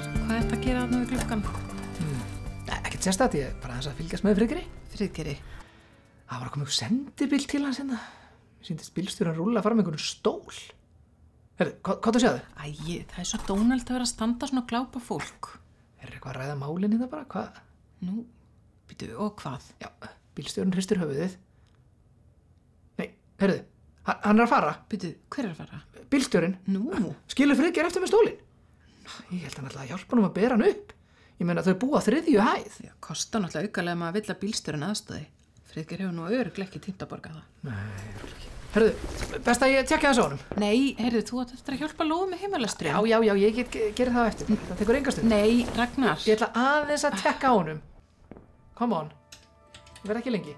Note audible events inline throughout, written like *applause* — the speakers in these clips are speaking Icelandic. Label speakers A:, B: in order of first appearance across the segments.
A: að gera þarna við klukkan?
B: Nei, ekkert sérstætt, ég bara aðeins að fylgjast með frikri.
A: Friðgeri.
B: Það var að koma ykkur sendibil til hans hérna. Mér síndist bílstjóran rúla fram einhvern stól. Herri, hvað, hvað þú séð þau?
A: Æ, ég- það er svo dónald að vera að standa svona og glápa fólk.
B: Er eitthvað að ræða málinn hérna bara? Hvað?
A: Nú, býtu, og hvað?
B: Já, bílstjórun hristir höfuðið. Nei, herruðu, hann hann er að fara.
A: Býtu, hver er að fara?
B: Bílstjórun,
A: Nú,
B: skilur friðger eftir með stólinn. Ég held hann alltaf að hjálpa hann að bera hann upp. Ég meina þau búa á þriðju hæð.
A: það kostar náttúrulega aukalega að maður vill að bílstjórun aðstöði. Friðgeri hefur nú öruglega ekki tímt að borga það.
B: Herruðu, best að ég tjekka þessu á honum.
A: Nei, heyrðu, þú átt eftir að hjálpa Lóu með heimalastri.
B: Já, já, já, ég get gerði það á eftir. Það tekur enga stund.
A: Nei, Ragnar.
B: Ég ætla aðeins að tjekka á honum. Come on. Ég verð ekki lengi.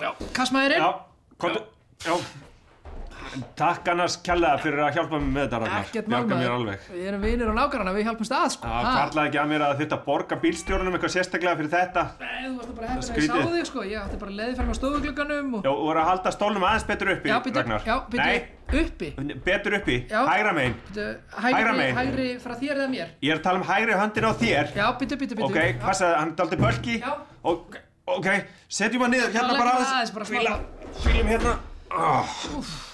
B: Já, kassmaðurinn.
C: Já, komdu, já. Takk annars kjallaða fyrir að hjálpa mér með þetta Ragnar.
B: Ekkert
C: Bjarga
B: málmaður.
C: mér alveg.
B: Við erum vinir og nákvæmna, við hjálpumst að sko.
C: Já,
B: Ha?
C: kallaði ekki að mér að þetta borga bílstjórunum eitthvað sérstaklega fyrir þetta.
B: Nei, þú varst bara hefðið að ég
C: Skrítið.
B: sá þig sko. Ég átti bara leiði fram á stofuglugganum og...
C: Já, og voru að halda stólnum aðeins betur uppi,
B: býttu,
C: Ragnar.
B: já, býttu, uppi.
C: Nei, betur uppi,
B: Já.
C: hægra megin.
B: Býttu,
C: Hægra
B: hægri,
C: megin.
B: hægri frá þér eða mér.
C: Ég er að tala um hægri höndin á þér.
B: Já, býttu, býttu, býttu.
C: ok, passaði, hann er daldið bölki.
B: Já.
C: Ok, ok, setjum hann niður
B: Tala
C: hérna bara
B: ekki
C: aðeins.
B: aðeins, bara smá.
C: Hvíla, hvílum hérna. Oh.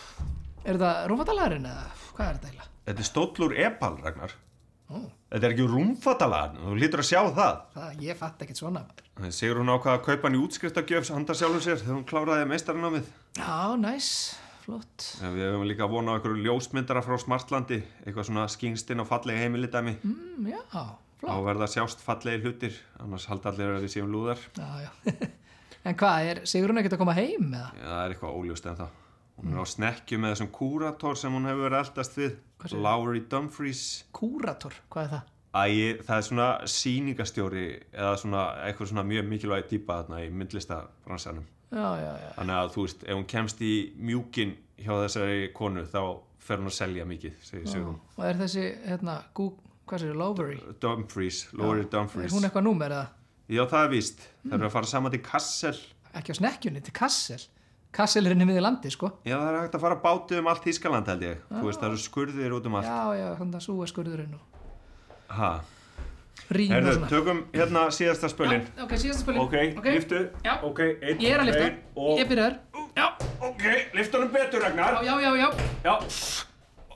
B: Er það rúfatalarinn eða hvað er þetta eiginlega?
C: Þetta er stóllur epal, Ragnar. Þetta er ekki rúmfatalaðan, þú lítur að sjá það.
B: Það, ég fatt ekkert svona. maður.
C: Sigur hún ákvað að kaupa hann í útskriftagjöfs handa sjálfum sér þegar hún kláraði meistarinámið.
B: Já, næs, flott.
C: Ja, við hefum líka vona á einhverju ljósmyndara frá Smartlandi, eitthvað svona skingstinn og fallega heimilidæmi. Mm.
B: Mm, já,
C: Á
B: flott.
C: verða að sjást fallegi hlutir, annars halda allir að við séum lúðar.
B: Já, *laughs* já. en hvað, er Sigrun ekkert að koma heim eða?
C: Já, það er eitthvað óljóst en það. Hún er á snekkju með þessum kúrator sem hún hefur verið að eldast við. Lowry Dumfries.
B: Kúrator, hvað er það?
C: Æ, það er svona sýningastjóri eða svona eitthvað svona mjög mikilvægi típa þarna í myndlistabransanum.
B: Já, já, já.
C: Þannig að þú veist, ef hún kemst í mjúkin hjá þessari konu þá fer hún að selja mikið, segir Sigrún.
B: Og er þessi, hérna, gú, hvað sér, Lovery?
C: Dumfries, Lori
B: Er
C: Dumfries.
B: hún Hmm. eitthvað númer eða?
C: Já, það er víst. Það eru að fara saman til Kassel.
B: ekki á snekkjunni til Kassel Kassel er henni miðið landi sko
C: Já, það er hægt að fara bátið um allt Ískaland, held ég. Þú veist, það eru skurðir út um allt.
B: já já, hann það súa skurðurinn og
C: Ha.
B: rým og
C: Herðu,
B: svona
C: tökum hérna síðasta spölin.
B: ok, síðasta spölin
C: Ok, lyftu.
B: Já.
C: Ok, einn,
B: ég er að lifta,
C: tveir og...
B: ég byrjar já,
C: Ok, lyftu hann betur, Ragnar.
B: já, já, já,
C: Já.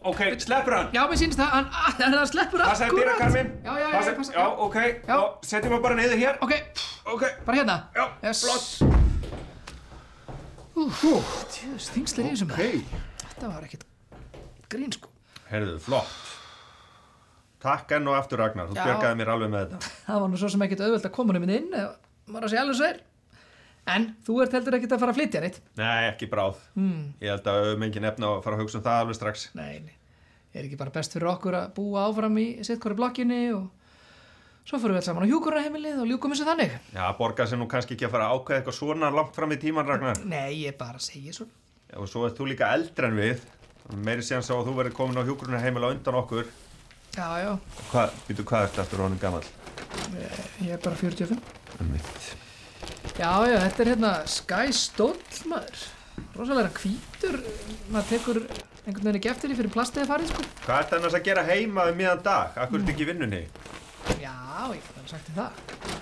C: Ok, sleppur hann.
B: já, mér sýnist það hann, *laughs* að, hann sleppur
C: Passa þér dýra, Karmin.
B: já, já, já,
C: Passa-
B: passa,
C: Já, ok.
B: Já.
C: Og setjum hann bara niður hér.
B: ok,
C: Ok.
B: bara hérna
C: Já,
B: yes.
C: flott.
B: Úf, úf, tjóðs, þingslir í þessum
C: Ok.
B: þetta var ekkit grín sko
C: Herðu, flott. Takk enn og aftur Ragnar, þú
B: Já.
C: björgaði mér alveg með þetta.
B: það var nú svo sem ekkit auðvöld að koma henni inn ef maður að sé alveg sver en þú ert heldur ekkit að fara að flytja neitt
C: Nei, ekki bráð. Mm.
B: Hmm.
C: Ég held að við höfum engin efna að fara að hugsa um það alveg strax.
B: Nei, nei, er ekki bara best fyrir okkur að búa áfram í sittkori blokkinni og svo fyrir við alls saman á hjúkurarheimilið og ljúkum þessu þannig.
C: Já, borgar sér nú kannski ekki að fara að ákveða eitthvað svona langt fram í tíman Ragnar.
B: Nei, ég bara segi svona.
C: Já, Og svo ert þú líka eldri en við. Meiri séðan sá að þú verður komin á hjúkurinu heimil á undan okkur.
B: Já, já,
C: Hvað, býtu, hvað ertu aftur honum gammal?
B: ég er bara 45.
C: Mitt.
B: Já, já, þetta er hérna Sky Stóll, maður. Rosalega hvítur, maður tekur einhvern veginn ekki eftir því fyrir plastiði farið, sko.
C: Hvað ertu annars að gera heima um miðan dag? Akkur
B: Hmm.
C: ertu ekki í vinnunni?
B: Já, ég hef sagt þér það.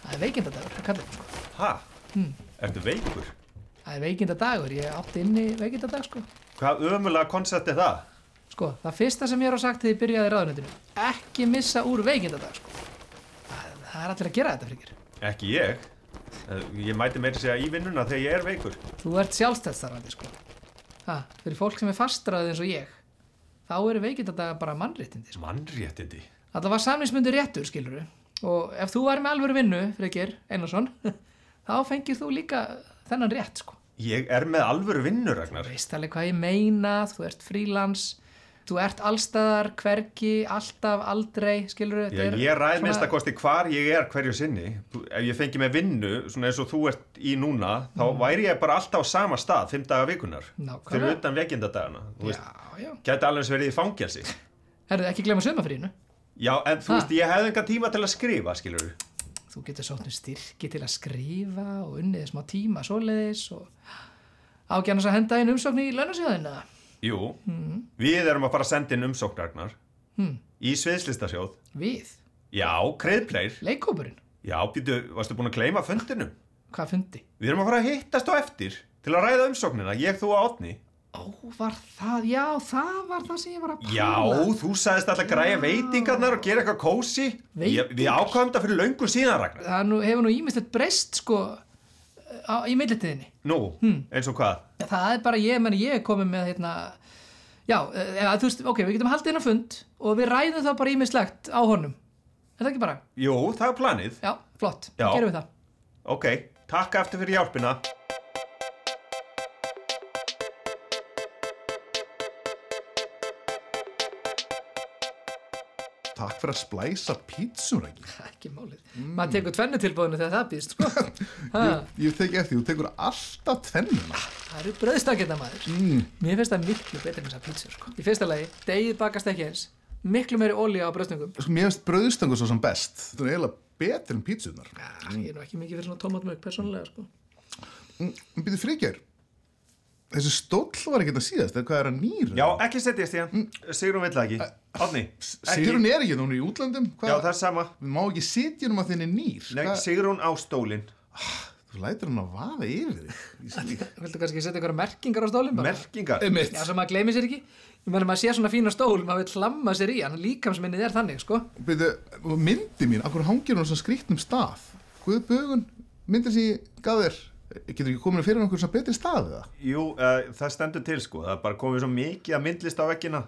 B: Það er veikindadagur, það kallar sko.
C: Ha? Ertu veikur?
B: Það er veikindadagur, ég átti inni veikindadag, sko.
C: Hvað ömulega koncept er það?
B: Sko, það fyrsta sem ég er á sagt þegar ég byrjaði í ráðunendinu, ekki missa úr veikindadag, sko. Það, það er allir að gera þetta, fríkir.
C: Ekki ég. Eh, Ég mæti meira að segja í vinnuna þegar ég er veikur.
B: Þú ert sjálfstæðstarfandi, sko. Ha, fyrir fólk sem er fastraðið eins og ég, þá eru veikindadaga bara mannréttindi, sko.
C: Mannréttindi.
B: Alltaf var samlingsmyndu réttur, skiluru. Og ef þú væri með alvöru vinnu, fríkir, Einarsson, *laughs* þá fengir þú líka þennan rétt, sko.
C: Ég er með alvöru vinnu, Ragnar.
B: Þú veist alveg hvað ég meina, þú ert frílans, þú ert allstaðar, hvergi, alltaf, aldrei, skiluru.
C: Ég, ég ræð minnst að kosti hvar ég er hverju sinni. Þú- Ef ég fengi með vinnu, svona eins og þú ert í núna, þá væri ég bara alltaf á sama stað, fimm daga vikunar.
B: Mm. Nákvæmlega.
C: Fyrir utan veikindadagana. Þú veist,
B: Já, já.
C: gæti alveg eins verið í fangelsi.
B: Herðu, ekki glemma sömafrínu.
C: Já, en
B: Ha.
C: þú veist, ég hefði engan tíma til að skrifa, skilur við.
B: Þú getur sótt um styrki til að skrifa og unnið smá tíma svoleiðis og ágjörnast að henda einn umsókn í launasjóðina.
C: Jú,
B: Mm.
C: við erum að fara að senda inn umsóknarnar
B: Hmm.
C: í sviðslistasjóð.
B: Við,
C: Já, kreðpleir.
B: leikkópurinn,
C: Já, býtu, varstu búin að gleyma fundinum?
B: hvað fundi?
C: Við erum að fara að hittast á eftir til að ræða umsóknina, ég, þú og Átni.
B: Ó, var það, já, það var það sem ég var að pæla.
C: Já, þú sagðist alltaf að græja veitingarnar og gera eitthvað kósi. Ég, við
B: Veitingar?
C: ákvæðum þetta fyrir löngu síðan, Ragnar.
B: Það nú, hefur nú ímislegt breyst, sko, á, í millitíðinni.
C: Nú, eins og hvað?
B: Það er bara ég, menn ég er komið með, hérna, já, eh, eða, þú veist, ok, við getum haldið hennar fund og við ræðum það bara ímislegt á honum. Er það ekki bara?
C: Jú, það er planið.
B: Já, flott,
C: Já.
B: gerum við það.
C: Ok, takk aftur fyrir hjálpina.
D: Takk fyrir að splæsa pítsuræki.
B: Það er Ekki málið.
D: Mm.
B: Maður tekur tvennu tilbúinu þegar það býðst,
D: *laughs*
B: sko. ha,
D: Ég tek eftir, þú tekur alltaf tvennuna.
B: það eru bröðstakenda maður.
D: Mm.
B: Mér finnst það miklu betur með þessar pítsur, sko. Í fyrsta lagi, degið bakast ekki eins. Miklu meiri ólíu á bröðstöngum.
D: Sko, mér finnst brauðstöngur svo sem best. Þetta er eiginlega betur en pítsunar.
B: Ah, Ég er nú ekki mikið fyrir svona tómatmögg persónulega sko.
D: En byrju fríkjör, þessi stóll var ekki þetta síðast, eða hvað er að nýra?
C: Já, ekki setjast ég. Sigrun vill það ekki. Átni,
D: Sigrun er ekki, hún er í útlöndum. Hvað?
C: Já, það er sama.
D: Við má ekki sitja um að þinni nýr.
C: Nei,
D: Hvað-
C: Sigrun á stólinn.
D: Þú lætur hann að vaða yfir þig.
C: *laughs*
D: Ég skil ekki.
B: Viltu kannski setja einhverja merkingar á stólinn bara?
C: Merkingar.
D: Einmitt.
B: Já, svo maður gleymi sér ekki Ég meðan maður sé svona fína stól, maður vil hlamma sér í hann Líkamsminnið er þannig, sko
D: Byrju, og myndi mín, akkur hangir hún á svona skrýtnum stað? Guð bögun, myndin sem ég gaf þér, getur ekki komin fyrir einhvern svona betri stað eða?
C: Jú, uh, það stendur til sko, það er bara komið svo mikið að myndlist á vekkina.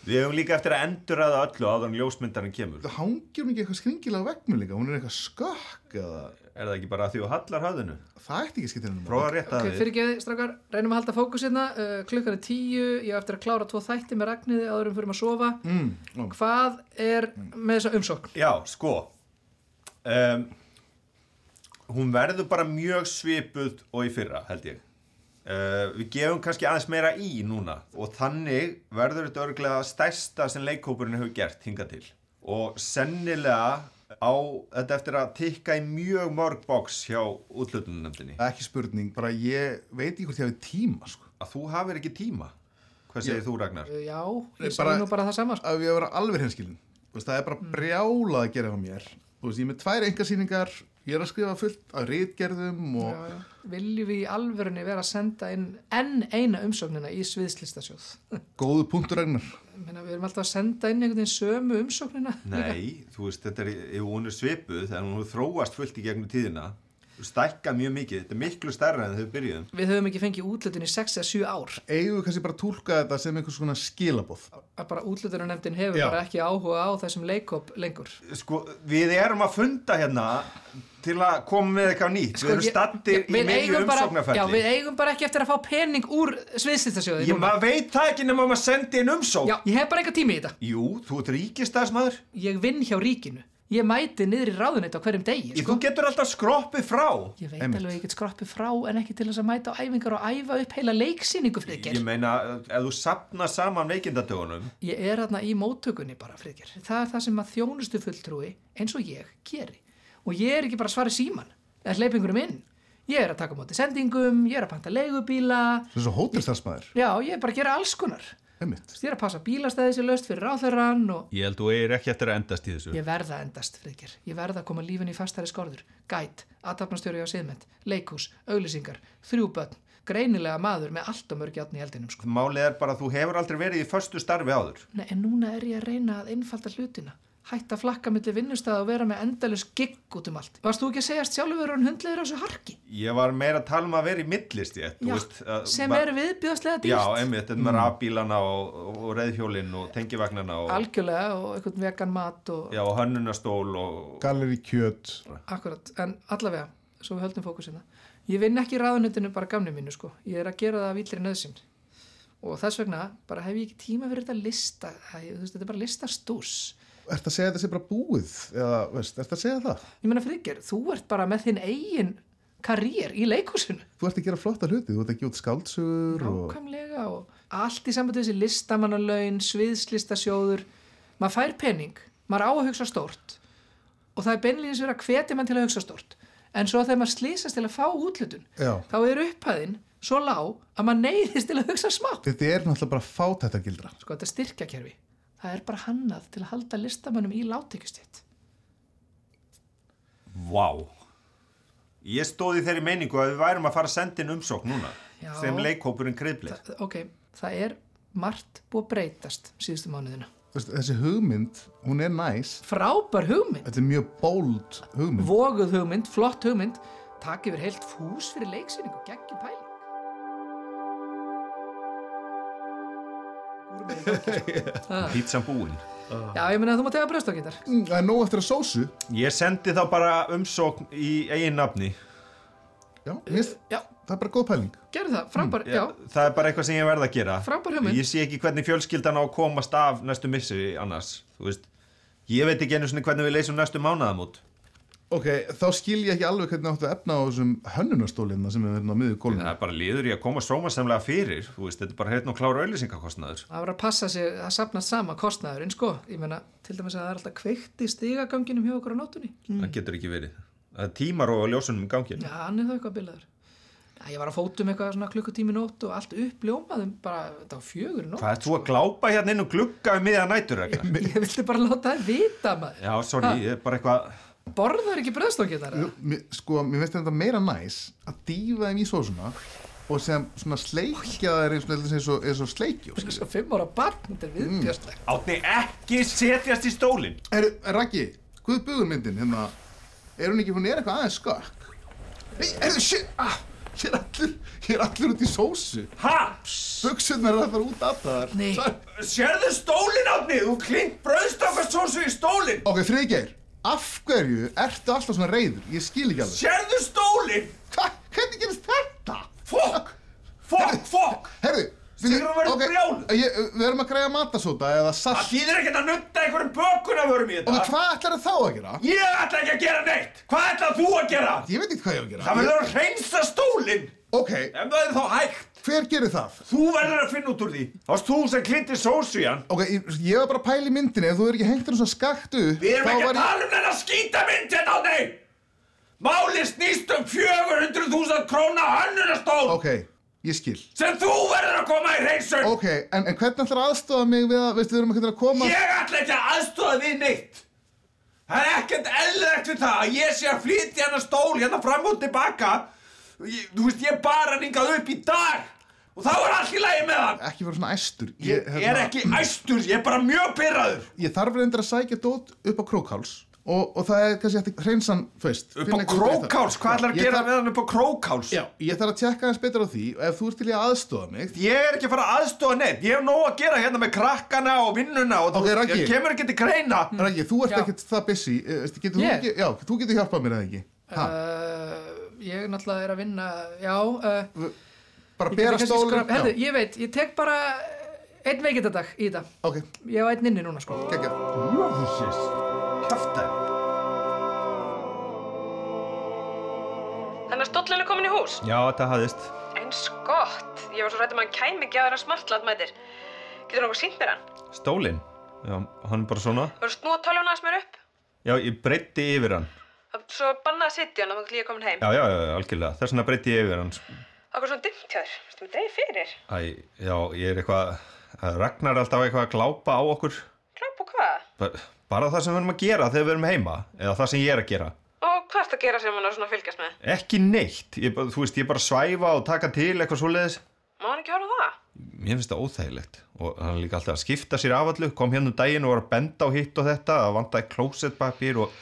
C: Við höfum líka eftir að endurraða öllu áður en ljósmyndarinn kemur.
D: Það hangir hún ekki eitthvað skringilega vegmur líka, hún er eitthvað skökk eða
C: Er það ekki bara að því þú hallar höfðinu?
D: það ætti ekki að skipta henni
C: Prófa að rétta
B: Ok,
C: það við.
B: fyrir ekki, strákar, reynum að halda fókus hérna uh, Klukkan er tíu, ég á eftir að klára tvo þætti með Ragniði áður en fyrir að sofa
D: Mm, mm.
B: Hvað er með þessa umsókn?
C: Já, sko. Um, hún verður bara mjög svipuð og í fyrra, held ég. Uh, við gefum kannski aðeins meira í núna og þannig verður þetta örglega stærsta sem leikkópurinn hefur gert hingað til. Og sennilega á þetta eftir að tikka í mjög mörg box hjá útlutununemdini.
D: Ekki spurning, bara ég veit ekki hvort ég hafi tíma sko.
C: að þú hafir ekki tíma hvað segir þú Ragnar?
B: Uh, já,
D: Nei,
B: ég
D: bara-
B: segi nú bara það sama, sko
D: Ef ég vera alveg hinskilin, það er bara
B: Mm.
D: brjálað að gera hjá mér. Þú veist, ég er með tvær engasýningar, ég er að skrifa fullt af rítgerðum og...
B: Já, já. Viljum við í alvörunni vera að senda inn enn eina umsóknina í sviðslistasjóð?
D: Góðu punktur Ragnar
B: Ég meina, við erum alltaf að senda inn einhvern veginn sömu umsóknina
C: Nei, þú veist, þetta er, ef hún er svipuð en hún hefur þróast fullt í gegnum tíðina þú stækka mjög mikið, þetta er miklu stærra en þau byrjuðum
B: Við höfum ekki fengið útlutun í 6 eða 7 ár
D: eigum við kannski bara að tólka þetta sem einhvers svona skilabóð
B: að bara útlutunanemndin hefur
D: Já.
B: bara ekki áhuga á þessum leikop lengur
C: Sko, við erum að funda hérna til að koma með eitthvað nýtt við erum
B: Sko, ég-
C: stattir
B: ég-
C: í
B: við
C: meðju
B: eigum bara- Já,
C: umsóknarferli
B: við eigum bara ekki eftir að fá pening úr sviðsýttasjóði
C: Ég maður veit það ekki nema maður sendi inn umsókn
B: Já, ég hef bara eitthvað tími í þetta
C: Jú, þú ert ríkistæðsmaður
B: Ég vinn hjá ríkinu Ég mæti niður í ráðunett á hverjum degi
C: Þú
B: sko.
C: getur alltaf skroppið frá
B: Ég veit
D: Einmitt.
B: alveg að ég get skroppið frá en ekki til þess að mæta á æfingar og æfa upp heila leiksýningu friðger
C: Ég meina, ef þú sapna saman veikindadögunum
B: Ég er þarna í móttökunni bara, Friðger. Það er það sem að þjónustu fulltrúi, eins og ég, geri. Og ég er ekki bara að svara í síman, eða hleypingurum inn. Ég er að taka á móti sendingum, ég er að panta leigubíla,
D: sem svo hótelstarfsmæður
B: já, ég er bara að gera alls konar. Þú
D: einmitt
B: veist, Ég er að passa bílastæði sér löst fyrir ráþörran og
C: Ég held þú eigir ekki eftir að endast í þessu
B: ég verða að endast, Friðger. Ég verða að koma lífin í fastari skorður. Gæt, aðtapnastjóri á siðmend, leikhús, auglýsingar, þrjú börn, greinilega maður með allt og mörg játn í eldinum, sko.
C: Málið er bara að þú hefur aldrei verið í föstu starfi áður.
B: Nei, en núna er ég að reyna að einfalda hlutina. Hætta að flakka millir vinnustæða og vera með endalus gigg út um allt. Varst þú ekki að segjast sjálfur hann hundlegur á þessu harki?
C: Ég var meira að tala um að vera í millist ég.
B: Já, sem er viðbjóðslega
C: Já,
B: dýrt.
C: einmitt, þetta með rafbílana og, og, og reyðhjólinn og tengivagnana og,
B: Algjörlega og einhvern vegan mat og
C: já, og hönnunastól og...
D: galeri kjöt
B: akkurat. En allavega, svo við höldum fókusina. Ég vinn ekki í ráðunutinu bara gamni mínu sko. Ég er að gera það af villri nöðsinn. Og þess vegna bara hef ég ekki tíma fyrir þetta lista. Æ, þú veist, þetta er bara listastús.
D: ert að segja þetta sé bara búið eða veist, ert að segja það
B: Ég meina Friðger, þú ert bara með þinn eigin karýr í leikhúsinu.
D: þú ert að gera flotta hluti, þú ert að gefa út skáldsögur og
B: Nákvæmlega og allt í sambandi við þessi listamannalaun, sviðslistasjóður, maður fær pening, maður á að hugsa stórt og það er beinlýnins verið að hvetja mann til að hugsa stórt. En svo þegar maður slýsast til að fá útlutun,
D: Já.
B: þá er upphæðin svo lág að maður neyðist til að hugsa smátt.
D: Þetta er náttúrulega bara fátættargildra.
B: Sko þetta styrkjakerfi, það er bara hannað til að halda listamönnum í látekjustitt.
C: Vá Ég stóð í þeirri meiningu að við værum að fara að senda inn umsókn núna
B: Já.
C: sem leikhópurinn kriðblir
B: Ok, það er margt búið að breytast síðustu mánuðina.
D: Þú veist, Þessi hugmynd, hún er næs.
B: Frábær hugmynd,
D: Þetta er mjög bold hugmynd.
B: voguð hugmynd, flott hugmynd, takk yfir heilt fús fyrir leiksýningu, geggjum pæling. Úr með því gangi, sko. Ha.
C: Pítsan búinn
B: Já, ég meina að þú má tega bröðstokkitar.
D: Það er nóg eftir að sósu.
C: Ég sendi þá bara umsókn í eigin nafni
D: Eh, Já, mist,
B: Já,
D: það er bara góð pæling.
B: gerðu það,
C: Mm,
B: frábær, já,
C: Það er bara eitthvað sem ég verð að gera
B: Frábær hugmynd.
C: Ég sé ekki hvernig fjölskyldan á að komast af næstu missi annars Þú veist Ég veit ekki einu svona hvernig við leysum næstu mánaðamót
D: Ok, þá skil ég ekki alveg hvernig áttu að efna á þessum hönnunarstólina sem er hérna á miðju
C: Sko, Það
D: gólfinu.
C: er bara liður í að koma sómasamlega fyrir Þú veist, þetta er bara hérna og klára auðlýsingakostnaður
B: það verður að passa sig, það sapnast sama kostnaðurinn, sko. Ég meina, til dæmis að það er alltaf kveikt í stigaganginum hjá okkur á nótunni.
C: Það getur ekki verið Það er tímar og ljósunum í gangi
B: Já, hann er það eitthvað bilaður. Já, ég var að fótum eitthvað svona klukkutími í nótt og allt uppljómaðum bara, þetta var fjögur í nótt.
C: Hvað er þú að glápa hérna inn og glugga um miðja nætur regla?
B: *laughs* Ég vildi bara láta það vita maður.
C: Já, sorry, ég er bara eitthvað
B: Borðar ekki bröðstokkitar?
D: Jú, mér- Sko, mér finnst þetta meira næs að dýfa þeim í sósuna og sem svona sleikja þær eins og- eins og, eins og sleikjó.
B: Sko, fimm ára barn, þetta er viðbjörnslega.
C: Átni ekki setjast í stólinn
D: Herru, Raggi, hvað er bugurmyndin hérna? Er hún ekki, hún er eitthvað aðeins skökk? Nei, herru, shit, ah, ég er allur, ég er allur út í sósu.
C: Ha?
D: Bugsunar er að fara út af það.
B: Nei.
C: Sérðu stólinn, Átni? Þú klingt bröðstokkasósu í stólinn
D: Ok, Friðgeir, af hverju ertu alltaf svona reyður? Ég skil ekki alveg.
C: Sérðu stólinn?
D: Hva, hvernig gerist þetta?
C: Fokk! Fokk, fokk
D: Herru,
C: Sigrún verður brjáluð.
D: Ég, við erum að græja matasóta eða
C: Það
D: salt.
C: þýðir ekkert að nutta einhverjum bökunaförum í
D: Ok,
C: þetta
D: hvað ætlarðu þá að gera?
C: Ég ætla ekki að gera neitt Hvað ætla þú að gera?
D: Ég veit ekki hvað ég á að gera.
C: Það verður að reynsa stólinn
D: Ok,
C: Ef það er þá hægt
D: hver gerir það?
C: Þú verður að finna út úr því Það varst þú sem klinti sósu í hann
D: Ok, ég, ég var bara að pæla í myndinni, ef þú er ekki hengt þér svona skakkt upp,
C: Við erum
D: þá
C: ekki að
D: var ég...
C: tala um þennan skítamynd hérna á þeim! Máli snýst um 400.000 króna hönnunastól
D: Ok, ég skil.
C: sem þú verður að koma í reysun!
D: Ok, en, en hvernig ætlar að aðstofa mig við að, veistu, við erum ekki að koma...
C: Ég ætla ekki að aðstofa við neitt! Það er ekkert eðlilegt við það að ég sé að flytja hennar stól hérna fram og tilbaka. Ég, þú veist, ég bar hann hingað upp í dag og þá er allt í lagi með hann.
D: Ekki vera svona æstur.
C: Ég er
D: hérna-
C: ekki æstur, ég er bara mjög byrraður.
D: Ég þarf reyndir að sækja dót upp á krókháls og, og það er kannski eftir hreinsan, þú veist...
C: Upp á
D: finna eitthvað út í það.
C: krókáls, hvað ætlar að
D: Ég
C: gera
D: þarf-
C: með hann upp á krókáls?
D: Já, ég þarf að tjekka hans betur á því og ef þú ert til í að aðstofa mig...
C: Ég er ekki að fara að aðstofa neitt, ég hef nóg að gera hérna með krakkana og vinnuna og
D: Ok,
C: þú-
D: Raggi.
C: ég kemur ekki til greina.
D: Rækki, þú ert
B: Já.
D: ekkert það busy, eh, veistu, getur
B: Ég?
D: þú ekki... Já, þú getur hjálpað mér eða ekki. Mm, Ha,
B: Uh, ég náttúrulega er að vinna, já. Uh,
D: bara
B: ég get
D: bera
B: kannski
D: stólinn...
B: skrap- Herðu, ég veit, ég tek bara eh, einn veikindadag í þetta.
D: Ok,
B: Ég á einn inni núna, sko.
D: geggja.
C: Ljóðsins, kjaftaði.
E: Þannig að stóllinn er komin í hús.
C: Já, þetta hafðist.
E: Eins gott. Ég var svo rætt um að hann kæmi ekki að vera smartlat mætir. Getur nokkuð sínt mér hann?
C: Stólinn? Já, hann er bara svona.
E: Var að snúa tölvun aðeins mér upp?
C: Já, ég breytti yfir hann.
E: Það er svo bannað að sitja hann að maður líka komin heim.
C: Já, já, já, já, algjörlega. Þess vegna breytti ég yfir hann. sko.
E: Það er svona dimmt hjá þér. Þú með dreif fyrir.
C: Æ, já, ég er eitthvað, það ragnar alltaf eitthvað að glápa á okkur.
E: Kláp og hvað?
C: Ba- Bara það sem við erum að gera þegar við erum heima, eða það sem ég er að gera.
E: Og hvað ertu að gera sem hann er svona að fylgjast með?
C: Ekki neitt, ég, bara- þú veist, ég bara svæfa og taka til eitthvað svoleiðis.
E: Má hann ekki horfa á það?
C: mér finnst það óþægilegt og hann er líka alltaf að skipta sér af allu kom hérna um daginn og var að benda á hitt og þetta að vantaði klósettpapír og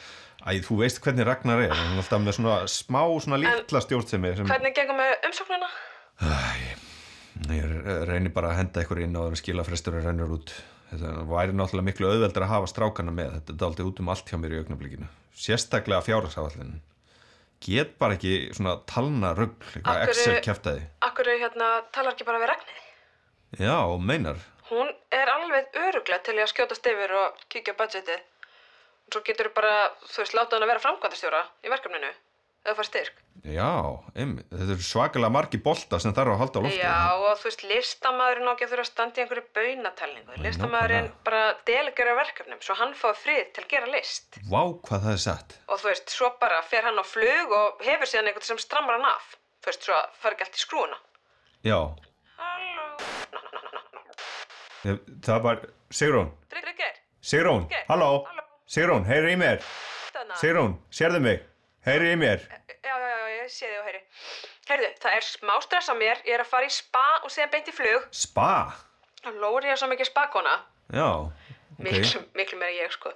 C: æ, þú veist hvernig Ragnar er hann er alltaf með svona smá, svona litla stjórn sem er sem
E: Hvernig gengum með umsóknina?
C: ég re- reynir bara að henda ykkur inn á þeirra skilafrestur og rennur út þetta væri náttúrulega miklu auðveldar að hafa strákana með þetta er aldrei út um allt hjá mér í augnablikinu sérstaklega fjárhagsafallin get bara ekki svona talna rugg, eitthvað
E: Af hverju-
C: Excel kæftæði
E: Akkur hérna talar ekki bara við Ragnir?
C: já, meinar
E: Hún er alveg öruglega til í að skjótast yfir og kíkja á budgetið. Og svo getur bara, þú veist, láta hann að vera framkvæmdastjóra í verkefninu. Ef það fær styrk.
C: Já, einmitt. þetta eru svakalega margi bolta sem þarf að halda á lofti.
E: Já, og þú veist, listamaðurinn á ekki að þurfa að standa í einhverju baunatalningu.
C: Nei,
E: Listamaðurinn
C: nákvæmlega.
E: bara delegera verkefnum, svo hann fái frið til að gera list.
C: Vá, hvað það er satt.
E: Og þú veist, svo bara fer hann á flug og hefur síðan einhvern sem strammar hann af. Þú veist, svo fari ekki allt í skrúuna.
C: Já,
E: Halló.
C: Eh, það var Sigrún,
E: Tryggir.
C: Sigrún,
E: Geir.
C: halló
E: Halló. Ah.
C: Sigrún, heyri í mér,
E: Þarna.
C: Sigrún, sérðu mig Heyri í mér,
E: hérna. Já, já, já, ég sé þig og heyri. Heyrðu, það er smá stress á mér. Ég er að fara í spa og síðan beint í flug.
C: spa
E: Lóri er svo mikið spakona.
C: Já, ok,
E: Miklu, miklu meira ég, sko.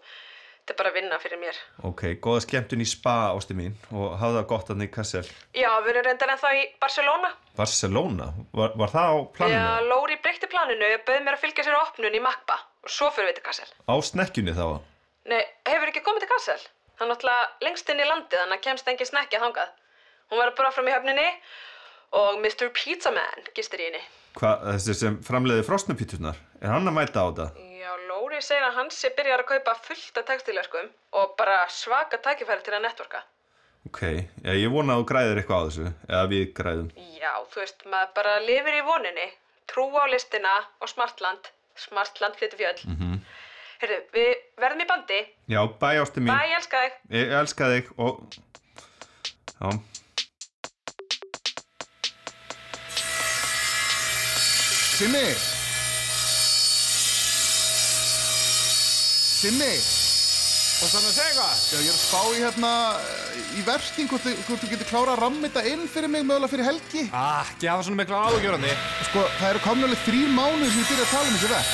E: Þetta er bara að vinna fyrir mér.
C: ok, góða skemmtun í spa ástu mín og hafðu það gott hann í Kassel
E: Já, við erum reyndar ennþá í Barcelona.
C: Barcelona, var, var það á
E: Já,
C: planinu?
E: Lóri breytti planinu og bauð mér að fylgja sér á opnun í Magba og svo fyrir við til Kassel.
C: Á snekkjunni þá?
E: Nei, hefur ekki komið til Kassel? Það er náttúrulega lengst inn í landið þannig að kemst engin snekki að þangað. Hún var bara fram í höfninni og Mr. Pizza Man gistir í henni.
C: Hvað, þessi sem framleiði frosnupíturnar, er hann að mæta á það?
E: Já, Lóri segir að hans sé byrjar að kaupa fullt af textilerkum og bara svaka tækifæri til að netvorka.
C: Ok, já, ég vona að þú græðir eitthvað á þessu, eða við græðum.
E: Já, þú veist, maður bara lifir í voninni, trú á listina og smartland. Smartland flyttu fjöll. Mm
C: Mhm.
E: -hmm. Heyrðu, við verðum í bandi.
C: Já, bæ ástu mín,
E: Bæ, ég elska þig.
C: ég elska þig og... Já,
D: Simmi Simmi
F: Og þannig að segja eitthvað?
D: Já, ég er að spá í hérna eh, í versting hvort, þú- hvort þú getur klárað að ramma þetta inn fyrir mig mögulega fyrir helgi
F: Ah, ekki hafa svona mikla áhugjörandi.
D: Sko, það eru komin alveg þrýr mánuðir sem ég byrja að tala um þessi verk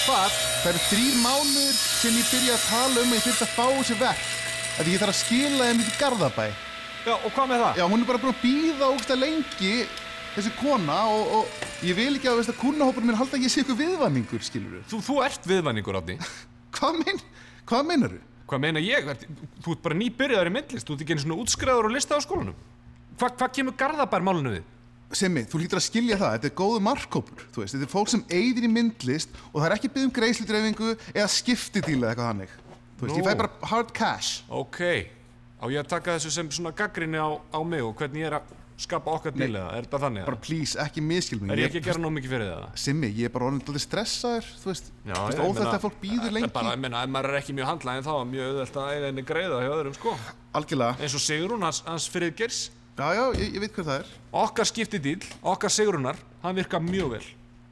F: Hvað?
D: Það eru þrýr mánuðir sem ég byrja að tala um að ég þurft að fá þessi verk Af því ég þarf að skila þeim í Garðabæ
F: Já, og hvað með það?
D: Já, hún er bara búin að býða ógsta lengi þessi kona og, og ég vil ekki að veist að kúnahópurinn minn halda að ég sé ykkur viðvanningur, skilur
F: Þú, þú ert viðmenningur, Rátti.
D: Hvað mein, hvað meinar þú?
F: Hvað meina ég? Ert, þú ert bara nýbyrjaðar í myndlist. Þú ert ekki einu svona útskriðar og lista á skólanum. Hva, hvað kemur garðabær málunum við?
D: Simmi, þú hlýtur að skilja það, þetta er góðu markkópur, þú veist, þetta er fólk sem eyðir í myndlist og það er ekki byggð um greiðslutreifingu eða skiptidíla eða eitthvað hannig. Þú veist, ég
F: Nú.
D: fæ bara hard cash.
F: Ok, á ég að taka þessu sem svona gaggrinni á, á mig og hvernig ég er að skapa okkar til eða? Er þetta þannig?
D: Bara
F: eða?
D: please, ekki miskil mig.
F: Er ég ekki að gera nóg mikið fyrir það?
D: Simmi, ég er bara orðin alltaf stressaður, þú veist,
F: Já,
D: þú veist,
F: ég
D: óþægt
F: meina-
D: að fólk býður
F: Það er
D: lengi.
F: bara, ég meina, ef maður er ekki mjög handlæðin þá er mjög auðvelt að eiga henni greiða hjá öðrum, sko.
D: Algjörlega,
F: Eins og Sigrún, hans, hans friðgers,
D: já, já, ég, ég veit hvað það er.
F: okkar skipti dýl, okkar Sigrunar, hann virka mjög vel.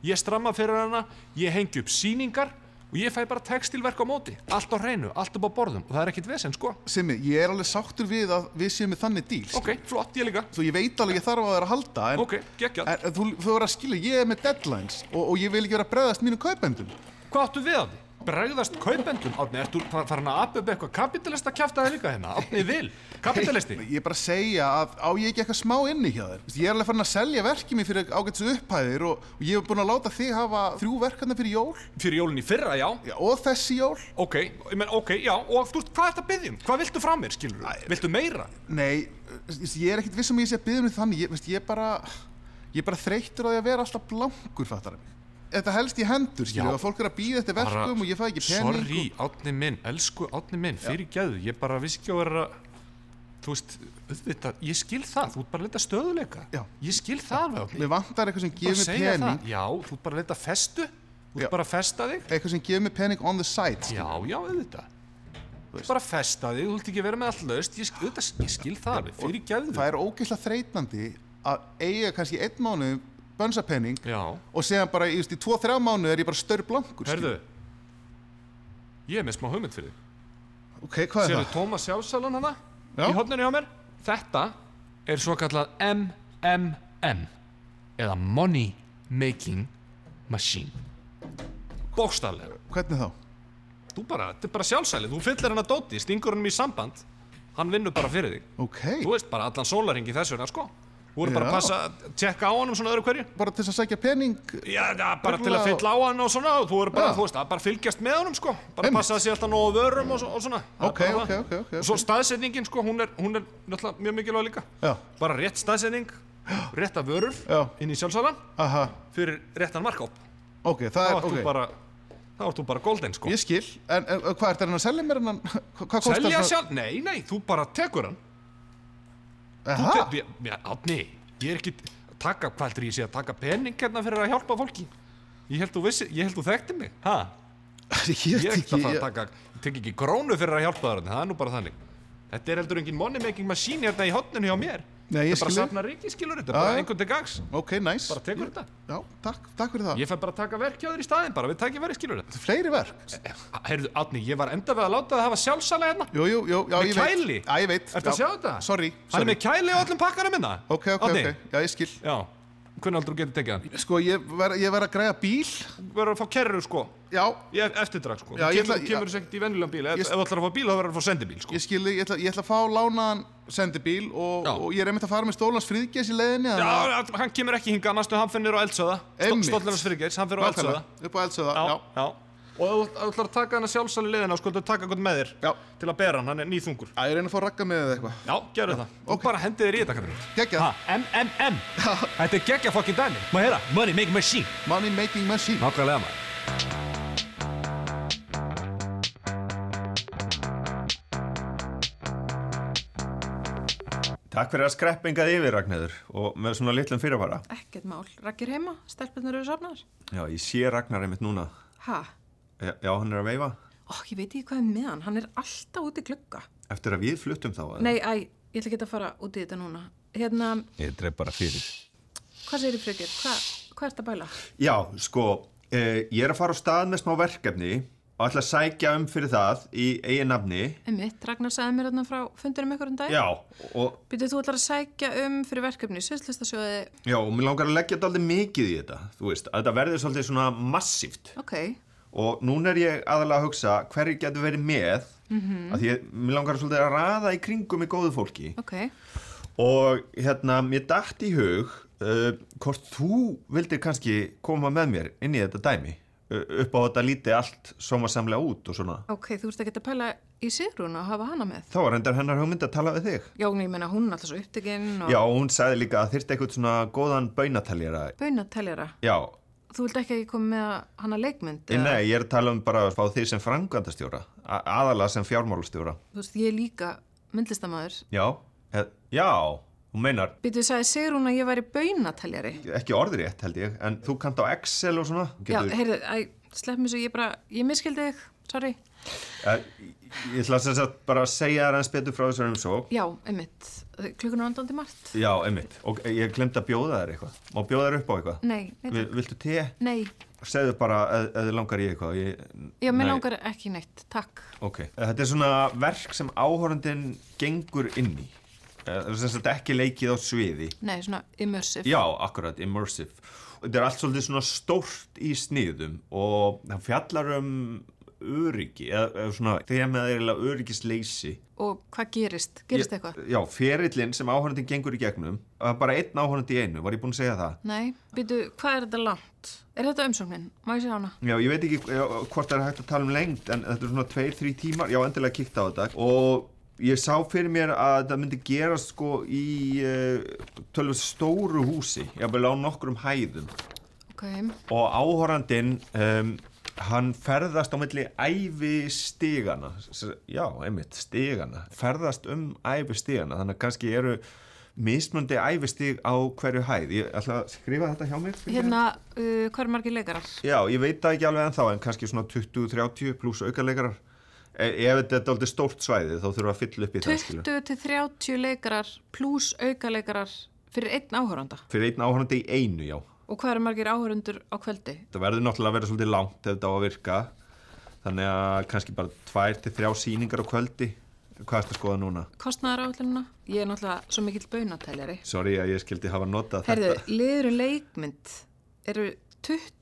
F: Ég stramma fyrir hana, ég hengi upp sýningar og ég fæ bara textilverk á móti. Allt á hreinu, allt upp á borðum og það er ekkit vesen, sko.
D: Simmi, ég er alveg sáttur við að við séum með þannig díl.
F: Ok, flott, ég líka.
D: Þú, ég veit alveg ég þarf á þér að halda, en,
F: Ok, geggjað.
D: en þú, þú verður að skilja, ég er með deadlines og, og ég vil ekki vera að bregðast mínu kaupendum.
F: Hvað áttu við á því? Bregðast kaupendum? Átni, ertu fa- farin að appa upp eitthvað kapitalista kjafta þig líka hérna? Átni, vil. Kapitalisti?
D: Ég er bara að segja að á ég ekki eitthvað smá inni hjá þér Vist, Ég er alveg farin að selja verkið mér fyrir ágætis upphæðir og, og ég hef búin að láta þig hafa þrjú verkarna fyrir jól
F: Fyrir jólinn í fyrra, já.
D: Já, og þessi jól
F: Ok, ég menn, ok, já. Og þú veist, hvað ert að byggja um? Hvað viltu frá mér, skilur þú? Viltu meira?
D: Nei, vist, ég er ekkit viss um að ég sé að byggja mig þannig ég, vist, ég, er bara, ég er bara þreyttur á því að vera alltaf blankur fattar mig Þetta helst í hendur, skilju,
F: Já.
D: að fólk er að býða eftir verkum og ég fæ ekki pening
F: Sorry, Átni minn, elsku Átni minn, fyrir gæðu. Ég bara vissi ekki að vera... Þú veist, auðvitað, ég skil það. Þú ert bara að leita stöðuleika.
D: Já.
F: Ég skil það alveg,
D: og
F: Átni.
D: Mér vantar eitthvað sem
F: Bara
D: gefur mér
F: segja það.
D: pening
F: Já, þú ert bara að leita að festu. Þú
D: Já.
F: ert bara að festa þig.
D: Eitthvað sem gefur mér pening on the side skilurðu.
F: Já, já, auðvitað. Þú ert bara að festa þig, þú ert ekki að vera með allt laust, ég, sk- auðvitað, ég skil það alveg, fyrir gæðu.
D: Það er ógeðslega þreytandi að eiga kannski einn mánuð bönsapenning
F: Já,
D: og segja bara, ég veist, í 2-3 mánu er ég bara störr blankur
F: herðu, ég er með smá hugmynd fyrir þig.
D: skilur. ok, hvað er
F: Sérðu
D: það?
F: Tómas Jásalan hana?
D: Já.
F: Í hodninu hjá mér? Þetta er svo kallað MMM, eða Money Making Machine. Bókstaflega.
D: hvernig þá?
F: Þú bara, þetta er bara sjálfsælið, þú fyllir hann að dóti, stingur hann í samband, hann vinnur bara fyrir þig.
D: ok,
F: Þú veist bara allan sólaringi þess vegna sko Þú erum bara
D: Já.
F: að passa að tjekka á hann um svona öðru hverju
D: bara til þess að sækja pening
F: Já, já bara til
D: Reglulega.
F: að fylla á hann og svona og þú erum bara,
D: Já.
F: þú veist, að bara fylgjast með honum sko Bara
D: Einmitt.
F: passa að sé alltaf nógu vörum og, svo- og svona Það er
D: Ok,
F: bara
D: ok,
F: það.
D: ok, ok,
F: Og svo staðsetningin sko, hún er, hún er náttúrulega mjög mikilvæg líka
D: já,
F: Bara rétt staðsetning, rétta vörur
D: Já.
F: inn í sjálfsalan
D: aha,
F: Fyrir réttan markóp
D: ok, það
F: Þá
D: er,
F: ert þú
D: ok
F: bara, þá ert þú bara golden sko
D: ég skil, en, en hvað er það hann að selja mér hann, *laughs* hvað kostar
F: Selja sjálf, nei, nei, þú bara tekur hann
D: aha,
F: Þú te- Já, Átni, ég er ekki að taka, hvað heldur ég sé að taka pening hérna fyrir að hjálpa fólki? Ég held þú vissi, ég held þú þekkti mig. Ha?
D: *laughs* ég
F: Ég er
D: veit
F: ekki að
D: ekki
F: fara að
D: ég-
F: taka, ég tek ekki krónu fyrir að hjálpa það, það er nú bara þannig. Þetta er heldur engin money making machine hérna í hotninu hjá mér.
D: Nei, ég
F: Þetta er bara
D: skil þig.
F: safna ríki, skilur þetta,
D: Já,
F: bara
D: já.
F: einhvern til gangs
D: ok, næs
F: Bara tekur þetta
D: já, takk, takk fyrir það
F: Ég fæ bara að taka verk hjá þér í staðin bara, við tækjum verið skilur þetta
D: fleiri verk
F: Herðu, Átni, ég var enda við að láta það hafa sjálfsala hérna
D: jú, jú, jú, já,
F: Með
D: ég veit
F: kæli?
D: já, ég veit
F: Ertu að
D: Já.
F: sjá þetta?
D: sorry,
F: Hann er
D: sorry.
F: með kæli á öllum pakkarum minna
D: ok, ok, ok, já, ég skil
F: Já, hvernig aldrei þú getur tekið hann
D: sko, ég verð ég verð að græja bíl
F: Þú verður að fá kerru sko,
D: já,
F: ég eftirdrag sko
D: Já,
F: Þú
D: ég
F: kemur,
D: ætla- já.
F: kemur segt í venjulegum bíl, ef,
D: Ég-
F: ef þú ætlar að fá bíl þá verður að fá sendibíl sko
D: ég skil þig, ég ætla, ég ætla að fá lánaðan sendibíl og,
F: Já.
D: og ég er einmitt að fara með stólans friðgæs í leiðinni
F: Já,
D: þannig að-
F: hann kemur ekki hingað, næstu hann finnir á eldsöða
D: Einmitt.
F: Stollarnas fyrirgeis, hann finnir á eldsöða
D: Nákvæmlega, upp á eldsöða já,
F: já, já. Og ef þú ætlar að taka hana sjálfsali liðina og sko þú taka eitthvað með þér
D: Já.
F: til að bera hann, hann er nýþungur
D: Já, ég reyna að fá ragga með eða eitthvað
F: Já, gerðu það, og bara hendið þér í þetta kallar
D: Geggjað.
F: MMM, þetta er geggja fokkin dæmi Má heyra, money make machine
D: Money making machine
F: Nákvæmlega maður
C: Takk fyrir að skreppingað yfir, Ragnæður og með svona litlum fyrirvara
A: Ekkert mál. Rakkir heima, stelpunar eru safnar.
C: Já, ég sé Ragnar einmitt núna
A: Ha?
C: Já, já, hann er að veifa
A: Ó, ég veit ekki hvað er með hann. Hann er alltaf út í glugga.
C: Eftir að við fluttum þá eða?
A: Nei, æ, ég ætla ekki að fara út í þetta núna. Hérna,
C: Ég dreif bara fyrir
A: hvað segir þið frökkur? Hva, hvað ert að bæla?
C: Já, sko, eh, ég er að fara á stað með smá verkefni og ætla að sækja um fyrir það í eigin nafni
A: Emmitt, Ragnar sagði mér þarna frá fundurum ykkur um dag.
C: Já, og,
A: Býtu, þú ætlar að sækja um fyrir verkefni, sviðslistasjóði,
C: já, og mér langar að leggja þetta aldrei mikið í þetta Þú veist, að þetta verður svolítið svona massíft
A: ok,
C: og núna er ég aðalega að hugsa hverju getur verið með mm -hmm. að því að mér langar svolítið að raða í kringum í góðu fólki
A: ok.
C: og hérna, mér datt í hug uh, hvort þú vildir kannski koma með mér inn í þetta dæmi uh, upp á þetta lítið allt sómasamlega út og svona
A: Ok, þú ert ekki að pæla í Sigrun og hafa hana með.
C: þá var endar hennar hugmynd að tala við þig
A: Já, en ég meina, hún er alltaf svo upptekinn og
C: Já, og hún sagði líka að þyrfti eitthvað svona góðan baunateljara
A: baunateljara.
C: Já,
A: Þú vilt ekki að ég kom með hana leikmynd?
C: yeah.
A: eða-
C: nei, ég er að tala um bara að fá þig sem frangandastjóra aðalega sem fjármálastjóra
A: Þú veist, ég er líka myndlistamæður.
C: Já, eh, já, hún meinar
A: Býtu, sagði Sigrun að ég væri baunateljari.
C: ekki orðrétt held ég, en þú kanta á Excel og svona
A: Já,
C: getur,
A: heyrðu, æ, slepp mér svo, ég bara, ég miskildi þig, sorry.
C: eh, ég ætla sem sagt bara að segja þér aðeins betur frá þessar umsók
A: Já, einmitt, klukkan er andandi margt.
C: já, einmitt, og ég glemt að bjóða þér eitthvað má bjóða þér upp á eitthvað
A: Nei, nei,
C: Vi,
A: takk.
C: viltu te?
A: nei,
C: segðu bara að þið langar í eitthvað ég,
A: já, mér
C: nei,
A: langar ekki neitt, takk.
C: ok, Eh, þetta er svona verk sem áhorandin gengur inn í Eh, það er sem sagt ekki leikið á sviði
A: Nei, svona immersive.
C: Já, akkurat, immersive. Þetta er allt svolítið svona stórt í sniðum og það fjallar um öryggi, eða, eða svona þeim að það er eiginlega öryggisleysi.
A: Og hvað gerist? Gerist
C: Ég-
A: eitthvað?
C: Já, ferillin sem áhörnandin gengur í gegnum, það er bara einn áhörnandi í einu, var ég búinn að segja það?
A: Nei, býtu, hvað er þetta langt? Er þetta umsóknin? Má ég sjá hana?
C: Já, ég veit ekki já, hvort það er hægt að tala um lengt en þetta er svona 2-3 tímar, já, endilega kíkta á þetta og ég sá fyrir mér að þetta myndi gerast sko í uh, tölvöld stóru húsi, jáfnvel á nokkrum hæðum
A: Ok,
C: og áhorandin um, hann ferðast á milli æfi stigana já, einmitt, stigana ferðast um æfi stigana þannig að kannski eru mismundi æfi stig á hverju hæð ég ætla að skrifa þetta hjá mér
A: hérna, uh, hvað er margir leikarar?
C: já, ég veit það ekki alveg ennþá en kannski svona 20-30 pluss aukaleikarar e ef þetta er aldrei stórt svæði þá þurfum við að fylla upp í það skilur.
A: 20 til 30 leikarar pluss auka leikarar fyrir einn áhöranda.
C: fyrir einn áhorandi í einu, já
A: Og hvað eru margir áhörundur á kvöldi?
C: það verður náttúrulega að vera svolítið langt ef þetta á að virka þannig að kannski bara tvær til þrjá sýningar á kvöldi hvað er að skoða núna?
A: Kostnaðar áhörlununa? Ég er náttúrulega svo mikill baunatæljari.
C: Sorry að ég skildi hafa notað
A: Herðu,
C: þetta
A: liður leikmynd eru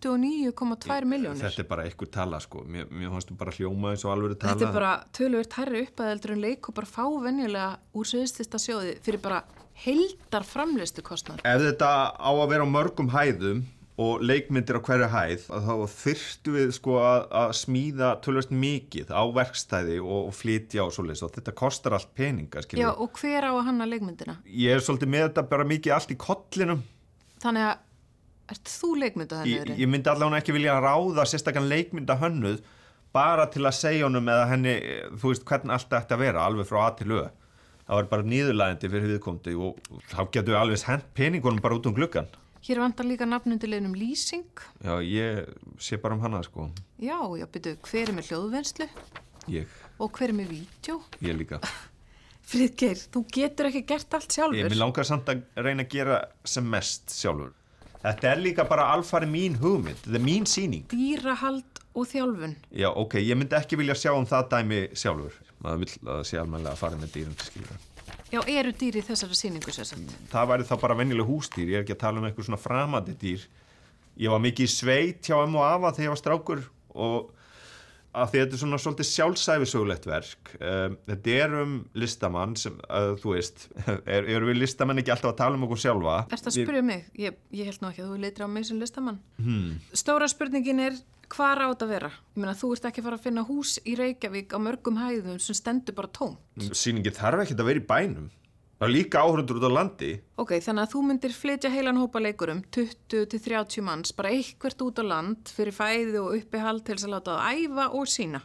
A: 29,2 miljónir.
C: Þetta er bara einhver tala sko Mér, mér fannst þú bara hljóma eins og alveg tala
A: Þetta er bara töluvert hærri uppaðeldur en leik og bara fá venjulega úr söðustista sjóði fyrir bara heldar framleistu kostnar.
C: Ef þetta á að vera á mörgum hæðum og leikmyndir á hverju hæð að þá þyrftu við sko að, að smíða tölvöst mikið á verkstæði og, og flytja og svoleiðis og þetta kostar allt peninga
A: Já,
C: skilur.
A: og hver á að hanna leikmyndina?
C: Ég er svolítið með þetta bara mikið allt í kollinum
A: Þannig að ert þú leikmynda
C: ég,
A: þannig
C: ég myndi allavega ekki vilja ráða sérstakann leikmynda hönnuð bara til að segja honum eða henni, eh, þú veist, hvernig allt þetta ætti að vera alveg frá A til Ö. Það var bara nýðurlæðandi fyrir viðkomandi og þá getur við alveg hent peningunum bara út um gluggan.
A: Hér vantar líka nafnundi leginum lýsing.
C: Já, ég sé bara um hana, sko.
A: Já, já, byrju, hver er með hljóðvennslu
C: Ég,
A: og hver er með vídjó?
C: ég líka.
A: Friðgeir, þú getur ekki gert allt sjálfur.
C: Ég, mér langar samt að reyna að gera sem mest sjálfur. Þetta er líka bara alfari mín hugmynd, þetta er mín sýning.
A: Dýrahald og þjálfun.
C: Já, ok, ég myndi ekki vilja sjá um það dæmi sjálfur. Maður vil að það sé almennilega að fara með dýrum til skilur.
A: Já, eru dýr í þessari sýningu sérsagt?
C: Það væri þá bara venjuleg húsdýr, ég er ekki að tala um eitthvað svona framandi dýr. Ég var mikið í sveit hjá ömmu og afa þegar ég var strákur og að því þetta er svona svolítið sjálfsæfisögulegt verk. Um, þetta er um listamann sem, uh, þú veist, *laughs* er, erum við listamenn ekki alltaf að tala um okkur sjálfa?
A: Ertu að
C: Við-
A: spyrja mig? Ég, ég held nú ekki að þú leitir á mig sem listamann. Hmm. Stóra spurningin er, hvað á þetta að vera? Ég meina, þú ert ekki að fara að finna hús í Reykjavík á mörgum hæðum sem stendur bara tóm.
C: Sýningi þarf ekkert að vera í bænum. Það er líka áhörundur út á landi.
A: Ok, þannig að þú myndir flytja heilan hópa leikurum, 20-30 manns, bara eitthvert út á land fyrir fæði og uppihald til þess að láta það æfa og sína.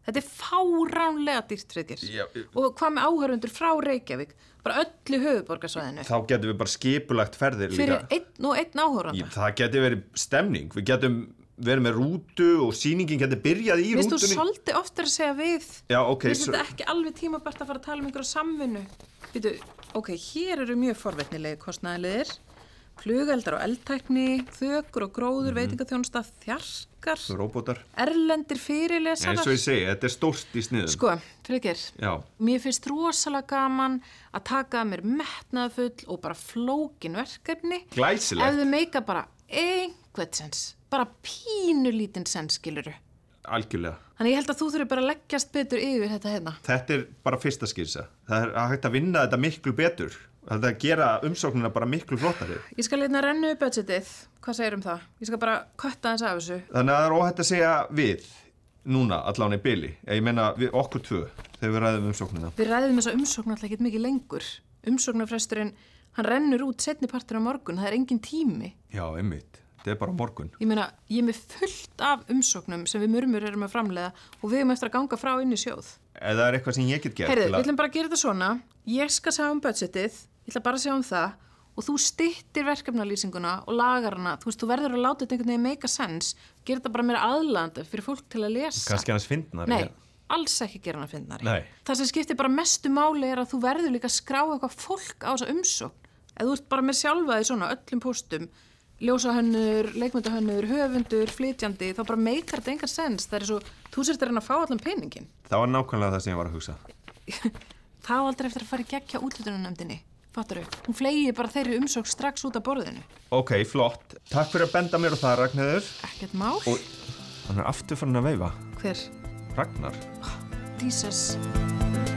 A: Þetta er fáránlega dýrt fyrir
C: Já,
A: þér.
C: ég-
A: Og hvað með áhörundur frá Reykjavík? Bara öllu höfuborgarsvæðinu.
C: Þá getum við bara skipulagt ferðir líka.
A: Fyrir einn og einn
C: Í,
A: áhörunda.
C: það getur verið stemning. Við getum verið með rútu og sýningin getur byrjað í
A: Vist þú
C: rútunni.
A: svolítið oftar að segja við?
C: Já, ok,
A: Vist
C: svo-
A: þetta ekki alveg tímabært að fara að tala um einhverja samvinnu? Býtu, ok, hér eru mjög forvetnilegi kostnæðilegir. Flugeldar og eldtækni, þökur og
C: Mhm.
A: gróður, veitingaþjónusta, þjarkar.
C: Róbótar.
A: erlendir fyrirlesarar
C: Eins og ég segi, þetta er stórt í sniðum.
A: Sko, frekir
C: Já.
A: Mér finnst rosalega gaman að taka að mér metnaðfull og bara flókin verkefni
C: Glæsilegt.
A: Ef þau meika bara einhvern sens bara pínu lítinn sens skiluru Sko-
C: Algjörlega.
A: Þannig ég held að þú þurfi bara að leggjast betur yfir þetta hérna
C: Þetta er bara fyrsta skýrsa. Það er hægt að vinna þetta miklu betur. Það er að gera umsóknina bara miklu flottari.
A: Ég skal leitna að rennu upp budgetið Hvað segir um það? Ég skal bara kötta þess af þessu
C: Þannig að það er óhætt að segja við núna allan í byli. Ég meina við okkur tvö þegar við ræðum umsóknina.
A: Við ræðum þessa umsókn alltaf ekki mikið lengur Umsóknarfresturinn, hann rennur út setni partur á morgun, það er engin tími
C: Já, einmitt. Þetta er bara á morgun.
A: Ég meina, ég er með fullt af umsóknum sem við mörmur erum að framleiða og við erum eftir að ganga frá inn í sjóð.
C: Ef það er eitthvað sem ég get gert
A: Heyrðu,
C: til
A: við
C: að...
A: ætlum bara að gera þetta svona. Ég skal segja um budgetið, ég ætla bara að segja um það og þú stittir verkefnalýsinguna og lagar hana. Þú veist, þú verður að láta þetta einhvern veginn make a sense. Gera þetta bara meira aðlanda fyrir fólk til að lesa.
C: Kannski hans fyndnar.
A: Nei, alls ekki gera hana fyndnari.
C: Nei.
A: Það sem skiptir bara mestu máli er að þú verður líka að skrá eitthvað fólk á þessa umsókn. Ef þú ert bara með sjálfaði svona öllum póstum, ljósahönnur, leikmyndahönnur, höfundur, flytjandi, þá bara meikar þetta engan sens. Það er svo, þú sért að reyna að fá allan peningin.
C: Það var nákvæmlega það sem ég var að hugsa.
A: Það á aldrei eftir að fara í gegn hjá útlutunanemdini. Fattar þau? Hún fleigi bara þeirri umsókn strax út af borðinu.
C: Ok, flott. Takk fyrir að benda mér á það, Ragnhildur.
A: Ekkert mál.
C: Og hann er aftur farin að veifa.
A: Hver?
C: Ragnar.
A: Jesus.